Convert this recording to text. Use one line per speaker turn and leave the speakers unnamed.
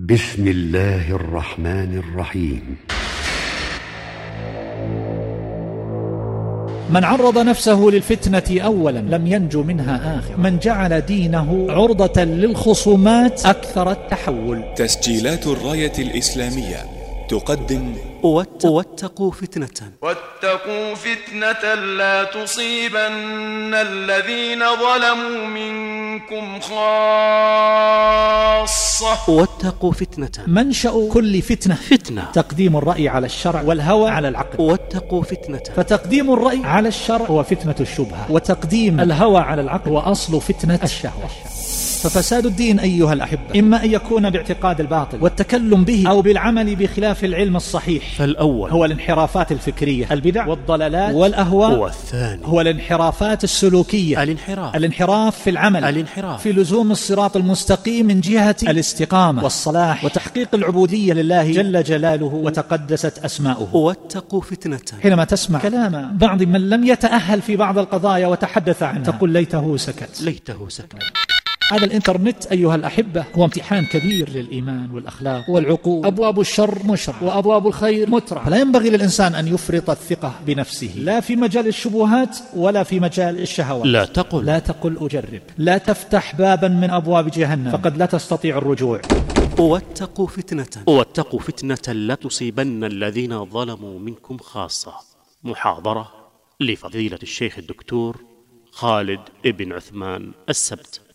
بسم الله الرحمن الرحيم
من عرض نفسه للفتنة أولا لم ينجو منها آخر من جعل دينه عرضة للخصومات أكثر التحول
تسجيلات الراية الإسلامية تقدم
واتق- واتقوا فتنة
واتقوا فتنة لا تصيبن الذين ظلموا منكم خاصة
واتقوا فتنة
منشأ كل فتنة
فتنة
تقديم الرأي على الشرع والهوى على العقل
واتقوا فتنة
فتقديم الرأي على الشرع هو فتنة الشبهة وتقديم الهوى على العقل وأصل فتنة الشهوة ففساد الدين أيها الأحبة إما أن يكون باعتقاد الباطل والتكلم به أو بالعمل بخلاف العلم الصحيح
فالأول
هو الانحرافات الفكرية البدع والضلالات والأهواء
هو الثاني
هو الانحرافات السلوكية
الانحراف
الانحراف في العمل
الانحراف
في لزوم الصراط المستقيم من جهة الاستقامة والصلاح وتحقيق العبودية لله جل جلاله وتقدست أسماؤه
واتقوا فتنة
حينما تسمع كلام بعض من لم يتأهل في بعض القضايا وتحدث عنها تقول ليته سكت
ليته سكت
هذا الإنترنت أيها الأحبة هو امتحان كبير للإيمان والأخلاق والعقول أبواب الشر مشرعة وأبواب الخير مترعة لا ينبغي للإنسان أن يفرط الثقة بنفسه لا في مجال الشبهات ولا في مجال الشهوات
لا تقل
لا تقل أجرب لا تفتح بابا من أبواب جهنم فقد لا تستطيع الرجوع
واتقوا فتنة واتقوا فتنة لا تصيبن الذين ظلموا منكم خاصة محاضرة لفضيلة الشيخ الدكتور خالد بن عثمان السبت